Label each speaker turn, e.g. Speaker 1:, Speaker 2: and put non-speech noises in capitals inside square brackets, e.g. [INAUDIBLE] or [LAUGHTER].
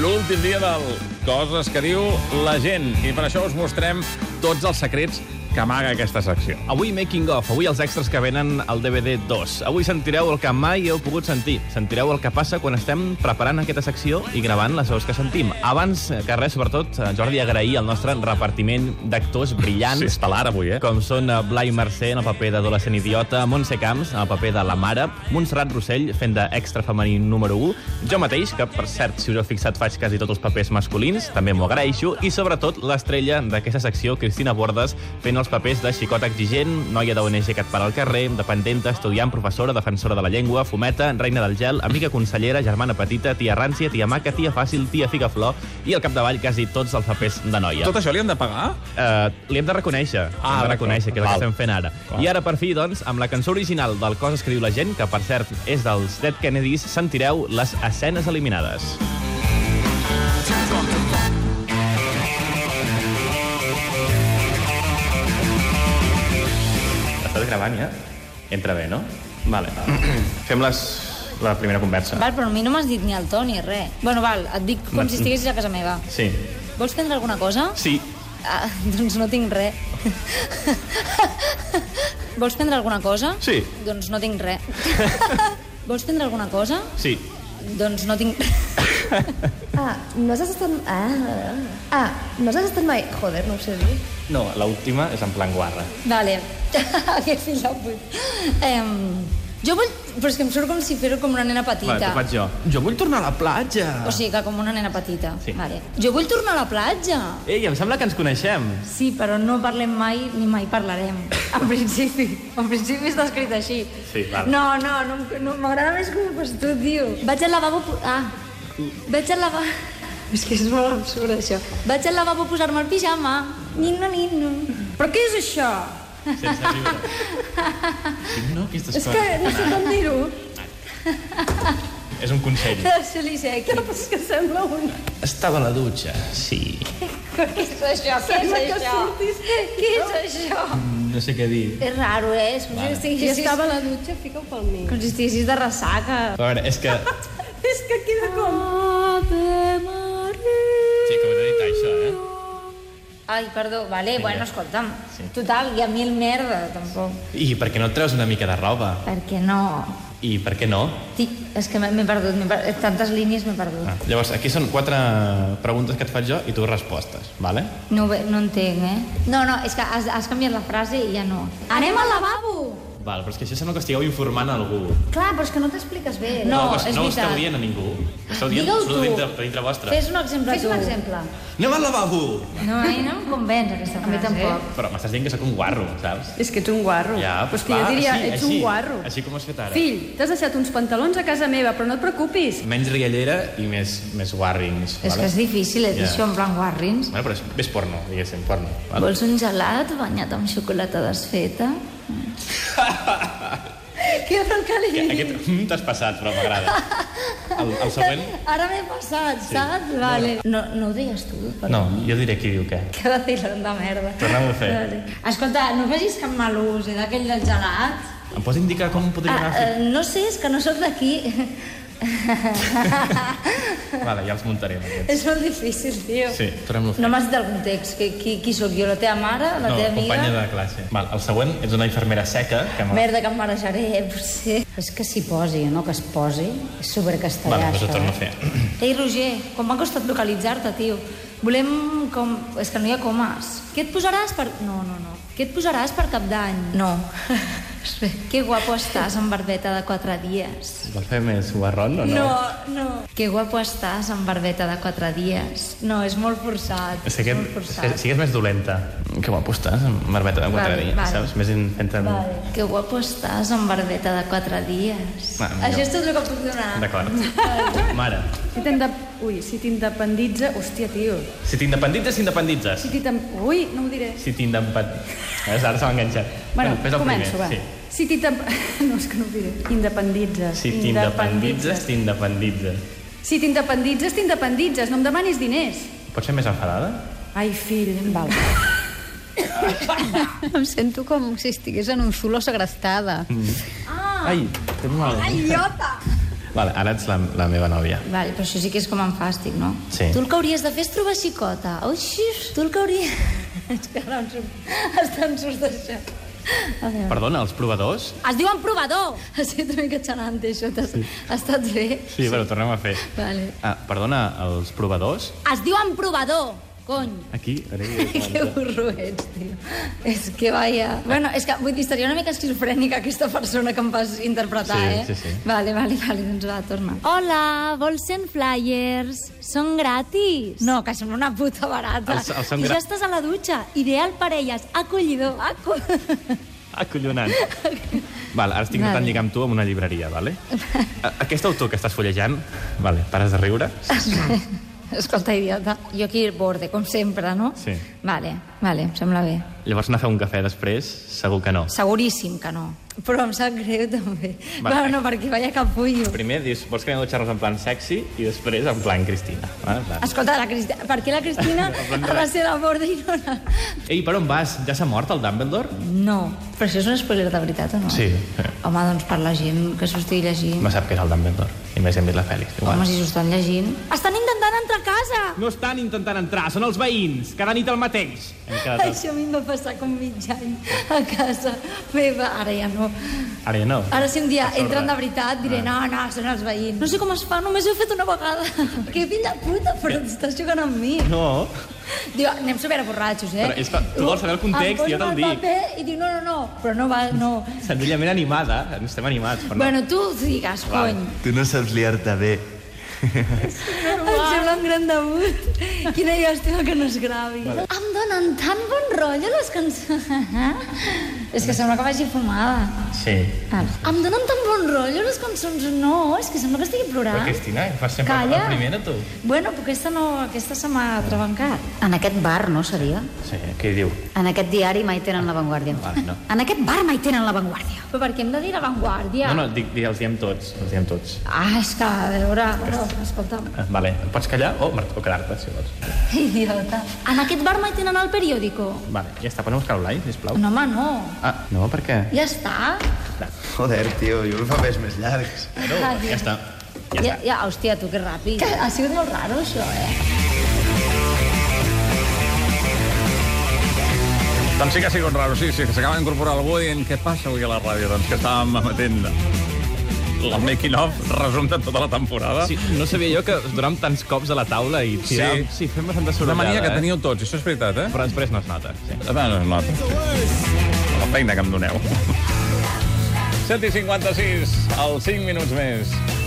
Speaker 1: l'últim dia del Coses que diu la gent. I per això us mostrem tots els secrets que amaga aquesta secció.
Speaker 2: Avui Making Of, avui els extras que venen al DVD 2. Avui sentireu el que mai heu pogut sentir. Sentireu el que passa quan estem preparant aquesta secció i gravant les veus que sentim. Abans que res, sobretot, eh, Jordi, agrair el nostre repartiment d'actors brillants.
Speaker 1: Sí, estel·lar avui, eh?
Speaker 2: Com són eh, Blai Mercè en el paper d'adolescent idiota, Montse Camps en el paper de la mare, Montserrat Rossell fent d'extra femení número 1, jo mateix, que per cert, si us heu fixat, faig quasi tots els papers masculins, també m'ho agraeixo, i sobretot l'estrella d'aquesta secció, Cristina Bordes, fent els papers de xicota exigent, noia d'ONG que et para al carrer, dependenta, estudiant, professora, defensora de la llengua, fumeta, reina del gel, amiga consellera, germana petita, tia rància, tia maca, tia fàcil, tia ficaflor, i al capdavall quasi tots els papers de noia.
Speaker 1: Tot això li han de pagar?
Speaker 2: Uh, li hem de reconèixer, ah, hem
Speaker 1: d'acord.
Speaker 2: de reconèixer, que és el que
Speaker 1: Val.
Speaker 2: estem fent ara.
Speaker 1: Val.
Speaker 2: I ara, per fi, doncs, amb la cançó original del Coses que diu la gent, que, per cert, és dels Dead Kennedys, sentireu les escenes eliminades. Estàs gravant, ja? Entra bé, no? Vale. [CLEARS THROAT] Fem les, la primera conversa.
Speaker 3: Val, però a mi no m'has dit ni el to ni res. Bueno, val, et dic com
Speaker 2: Va.
Speaker 3: si estiguessis a casa meva.
Speaker 2: Sí.
Speaker 3: Vols prendre alguna cosa?
Speaker 2: Sí.
Speaker 3: Ah, [LAUGHS] doncs no tinc res. [LAUGHS] Vols prendre alguna cosa?
Speaker 2: Sí.
Speaker 3: Doncs no tinc res. [LAUGHS] Vols prendre alguna cosa?
Speaker 2: Sí.
Speaker 3: Doncs no tinc... [LAUGHS]
Speaker 4: Ah, no has estat... Ah, ah no has estat mai... Joder, no ho sé dir.
Speaker 2: No, l'última és en plan guarra.
Speaker 3: Vale. [LAUGHS] Havia fins al punt. Em, jo vull... Però és que em surt com si fer-ho com una nena petita.
Speaker 2: Vale, t'ho faig jo.
Speaker 5: Jo vull tornar a la platja.
Speaker 3: O sigui que com una nena petita.
Speaker 2: Sí.
Speaker 3: Vale. Jo vull tornar a la platja.
Speaker 2: Ei, em sembla que ens coneixem.
Speaker 3: Sí, però no parlem mai ni mai parlarem. En principi. En principi està escrit així.
Speaker 2: Sí, val.
Speaker 3: No, no, no, em- no m'agrada més com ho fas tu, tio. Vaig al lavabo... po- Ah, vaig al lavabo... És que és molt absurd, això. Vaig al lavabo a posar-me el pijama. Nino, nino. Però què és això?
Speaker 2: No, aquestes
Speaker 3: És
Speaker 6: Eh,
Speaker 3: que no sé com dir-ho.
Speaker 2: És un consell.
Speaker 3: Deixa-li ser aquí. No, però és que sembla un...
Speaker 5: Estava a la dutxa.
Speaker 2: Sí.
Speaker 3: Què és això? Què és això? Què és això?
Speaker 2: No sé què dir.
Speaker 3: És raro, eh? És com si
Speaker 6: Jo
Speaker 3: estiguessis...
Speaker 6: estava a la dutxa, fica-ho pel mig.
Speaker 3: Com si estiguessis de ressaca.
Speaker 2: A veure, és
Speaker 3: [LAUGHS]
Speaker 2: que...
Speaker 6: És que queda com...
Speaker 2: Sí, com he dit això, eh?
Speaker 3: Ai, perdó, vale, bueno, escolta'm. Total, hi ha mil merda, tampoc.
Speaker 2: I per què no et treus una mica de roba?
Speaker 3: Perquè no...
Speaker 2: I per què no?
Speaker 3: Tic, és que m'he m'he perdut, m'he per... tantes línies m'he perdut.
Speaker 2: Ah, llavors, aquí són quatre preguntes que et faig jo i tu respostes, vale?
Speaker 3: No, ho ve- no entenc, eh? No, no, és que has, has canviat la frase i ja no. Anem al lavabo!
Speaker 2: Val, però és que això sembla que estigueu informant algú.
Speaker 3: Clar, però és que no t'expliques bé. No,
Speaker 2: no,
Speaker 3: és
Speaker 2: no ho
Speaker 3: veritat.
Speaker 2: esteu dient a ningú. Ho esteu dient
Speaker 3: Digue-ho tu.
Speaker 2: solo dintre, per dintre vostre.
Speaker 3: Fes un exemple Fes tu. un exemple.
Speaker 2: Anem al lavabo!
Speaker 3: No, a mi no em convenç aquesta frase. A mi tampoc.
Speaker 2: Però m'estàs dient que sóc un guarro, saps?
Speaker 6: És que ets un guarro.
Speaker 2: Ja,
Speaker 6: però és
Speaker 2: pues
Speaker 6: que
Speaker 2: clar,
Speaker 6: jo diria,
Speaker 2: així,
Speaker 6: ets
Speaker 2: així,
Speaker 6: un guarro.
Speaker 2: Així com has fet ara.
Speaker 6: Fill, t'has deixat uns pantalons a casa meva, però no et preocupis.
Speaker 2: Menys riallera i més, més guarrings,
Speaker 3: És que és difícil, eh, dir
Speaker 2: Ja.
Speaker 3: això en plan guarrins.
Speaker 2: Bueno, però és, és porno, diguéssim, porno. Val?
Speaker 3: Vols un gelat banyat amb xocolata desfeta? Què vol que li digui?
Speaker 2: Aquest mm, t'has passat, però m'agrada. El, el següent...
Speaker 3: Ara m'he passat, sí. saps? Vale. No, no ho deies tu, però...
Speaker 2: No, jo diré qui diu què.
Speaker 3: Que vacilón de merda.
Speaker 2: Tornem-ho a fer.
Speaker 3: Vale. Escolta, no facis cap mal ús, eh, d'aquell del gelat.
Speaker 2: Em pots indicar com podria
Speaker 3: Ah,
Speaker 2: anar?
Speaker 3: eh, no sé, és que no sóc d'aquí. [LAUGHS] Ah,
Speaker 2: fent? Vale, ja els muntarem, aquests.
Speaker 3: és molt difícil, tio.
Speaker 2: Sí, tornem-ho a fer.
Speaker 3: No m'has dit el context, que, qui, qui sóc jo, la teva mare, la teva amiga?
Speaker 2: companya de classe. Val, el següent és una infermera seca que... m'ha-
Speaker 3: Merda, que em marejaré, eh, potser.
Speaker 7: És que s'hi posi, no que es posi. És supercastellà,
Speaker 2: Vale, doncs ho
Speaker 7: això,
Speaker 2: torno
Speaker 7: eh?
Speaker 2: a fer.
Speaker 3: Ei, Roger, com m'ha costat localitzar-te, tio. Volem com... És que no hi ha comes. Què et posaràs per... No, no, no. Què et posaràs per cap d'any? No. [LAUGHS] que guapo estàs amb barbeta de quatre dies.
Speaker 2: Vols fer més guarron o Ah, no?
Speaker 3: no. Que guapo estàs amb barbeta de quatre dies. No, és molt forçat.
Speaker 2: És que aquest,
Speaker 3: molt
Speaker 2: és
Speaker 3: forçat.
Speaker 2: que, sí que és més dolenta. Que guapo estàs, amb barbeta de
Speaker 3: Vale,
Speaker 2: contrari,
Speaker 3: vale.
Speaker 2: saps? Més intenta...
Speaker 3: Vale. Que guapo estàs amb barbeta de quatre dies.
Speaker 2: Va, millor.
Speaker 3: Això és tot el que puc donar.
Speaker 2: D'acord. Mare,
Speaker 6: Si t'indep... Ui, si t'independitza... Hòstia, tio.
Speaker 2: si t'independitzes, s'independitzes.
Speaker 6: Si t'indep... Ui, no ho diré.
Speaker 2: Si t'independitzes... Ara se m'ha enganxat.
Speaker 6: Bueno,
Speaker 2: fes el
Speaker 6: començo,
Speaker 2: primer,
Speaker 6: va.
Speaker 2: Sí.
Speaker 6: Si
Speaker 3: [LAUGHS]
Speaker 6: t'indep... No, és que no ho diré. Independitzes.
Speaker 2: Si t'independitzes, t'independitzes.
Speaker 6: Si t'independitzes, t'independitzes. No em demanis diners.
Speaker 2: Pots ser més enfadada?
Speaker 6: Ai, fill. Val.
Speaker 7: Em sento com si estigués en un zulo segrestada.
Speaker 2: Ah. Ai, tens mal. Ai, idiota! Vale, ara ets la, la meva nòvia.
Speaker 3: Vale, però això sí que és com en fàstic, no?
Speaker 2: Sí.
Speaker 3: Tu el que hauries de fer és trobar xicota. Uixi, tu el que [LAUGHS] hauries... És que ara em surt... [LAUGHS] Està em surt d'això. A veure.
Speaker 2: Perdona, els provadors?
Speaker 3: Es diuen provador! Ha estat una mica xerante, això. T'has- Ha estat bé?
Speaker 2: Sí, però ho tornem a fer.
Speaker 3: Vale.
Speaker 2: Ah, perdona, els provadors?
Speaker 3: Es diuen provador, cony.
Speaker 2: Aquí?
Speaker 3: que burro ets, tio. És que vaia... Bueno, és que vull dir, estaria una mica esquizofrènica aquesta persona que em vas interpretar,
Speaker 2: Sí,
Speaker 3: eh?
Speaker 2: sí, sí.
Speaker 3: Vale, vale, vale, doncs va, torna. Hola, vols 100 [LAUGHS] flyers? Són gratis. No, que sembla una puta barata.
Speaker 2: Els- els són
Speaker 3: I
Speaker 2: gra-
Speaker 3: ja estàs a la dutxa. Ideal parelles. Acollidor. Acoll...
Speaker 2: [LAUGHS] Acollonant. Val, ara estic intentant
Speaker 3: Vale.
Speaker 2: lligar amb tu en una llibreria,
Speaker 3: [LAUGHS]
Speaker 2: vale? A- Aquest autor que estàs fullejant, vale, pares de riure?
Speaker 3: Escolta, idiota, jo aquí borde, com sempre, no?
Speaker 2: Sí.
Speaker 3: Vale, vale, em sembla bé.
Speaker 2: Llavors anar a fer un cafè després, segur que no.
Speaker 3: Seguríssim que no. Però em sap greu, també.
Speaker 2: Vale.
Speaker 3: Bueno, no, perquè vaya capullo.
Speaker 2: Primer dius, vols que anem a dutxar-nos en plan sexy i després en plan Cristina. Vale, vale.
Speaker 3: Escolta, la Cristi... per què la
Speaker 2: [LAUGHS]
Speaker 3: Cristina
Speaker 2: Doncs
Speaker 3: ha de ser la borda i no la...
Speaker 2: Ei, per on vas? Ja s'ha mort el Dumbledore?
Speaker 3: No, però això és un spoiler de veritat o no?
Speaker 2: Sí.
Speaker 3: Home, doncs per la gent que s'ho estigui llegint...
Speaker 2: No sap què és el Dumbledore. I més hem vist la Fèlix.
Speaker 3: Home,
Speaker 2: Igual.
Speaker 3: si s'ho estan llegint... Estan intentant entrar a casa!
Speaker 2: No estan intentant entrar, són els veïns. Cada nit el mateix. Hem quedat... els-
Speaker 3: Això a mi em va passar com mig any a casa meva. Ara ja no.
Speaker 2: Ara ja no.
Speaker 3: Ara si un dia entren de veritat
Speaker 2: Ah.
Speaker 3: diré no, no, són els veïns. No sé com es fa, només ho he fet una vegada. que fill de puta, però t'estàs jugant amb mi.
Speaker 2: No.
Speaker 3: Diu, anem superborratxos, eh?
Speaker 2: Però és que tu vols saber el context,
Speaker 3: Em poso
Speaker 2: jo te'l
Speaker 3: en
Speaker 2: dic.
Speaker 3: paper i diu, no, no, no, però no va,
Speaker 2: [LAUGHS]
Speaker 3: no.
Speaker 2: Senzillament animada. Estem animats, però
Speaker 3: Bueno, tu digues, cony.
Speaker 8: Tu no saps liar-te bé.
Speaker 3: Em sembla un gran debut. Quina llàstima que no es gravi. Vale. Em donen tan bon rotllo les cançons. [LAUGHS] és que sembla que vagi fumada.
Speaker 2: no. Sí.
Speaker 3: Ah. Em donen tan bon rotllo les cançons. No, és que sembla que estigui plorant.
Speaker 2: Però Cristina, eh? fas sempre
Speaker 3: Calla.
Speaker 2: la primera, tu.
Speaker 3: Bueno, però aquesta, no, aquesta se m'ha trebancat.
Speaker 7: En aquest bar, no seria?
Speaker 2: Sí, què diu?
Speaker 7: En aquest diari mai tenen l'avantguàrdia.
Speaker 2: Vale, no.
Speaker 7: En aquest bar mai tenen l'avantguàrdia.
Speaker 3: Però per què hem de dir l'avantguàrdia?
Speaker 2: No, no, dic, dic, els diem tots, els diem tots.
Speaker 3: Ah, és que, a veure, però, escolta'm. [LAUGHS]
Speaker 2: Ah, Vale, pots callar o, mar- o quedar-te, si vols.
Speaker 3: Idiota. En aquest bar mai tenen el periòdico?
Speaker 2: Vale, ja està, podem buscar l'online, sisplau.
Speaker 3: No, home, no.
Speaker 2: Ah, no, per què?
Speaker 3: Ja està.
Speaker 8: Joder, tio, jo vull papers més llargs.
Speaker 2: No, ja està.
Speaker 3: Ja, ja, ja hòstia, tu, que ràpid. Que ha sigut molt raro, això, eh?
Speaker 1: Doncs sí que ha sigut raro, sí, sí, que s'acaba d'incorporar algú dient què passa avui a la ràdio, doncs que estàvem emetent la making of resum de tota la temporada.
Speaker 2: Ah, Sí, no sabia jo que donàvem tants cops a la taula i tiràvem... Sí, sí fem bastanta
Speaker 1: És una
Speaker 2: sorollada,
Speaker 1: mania que
Speaker 2: eh?
Speaker 1: teníeu tots, això és veritat, eh?
Speaker 2: Però després no es nota. Sí.
Speaker 1: Bueno, es nota. La
Speaker 2: [LAUGHS]
Speaker 1: feina que em doneu. 7 i 56, els 5 minuts més.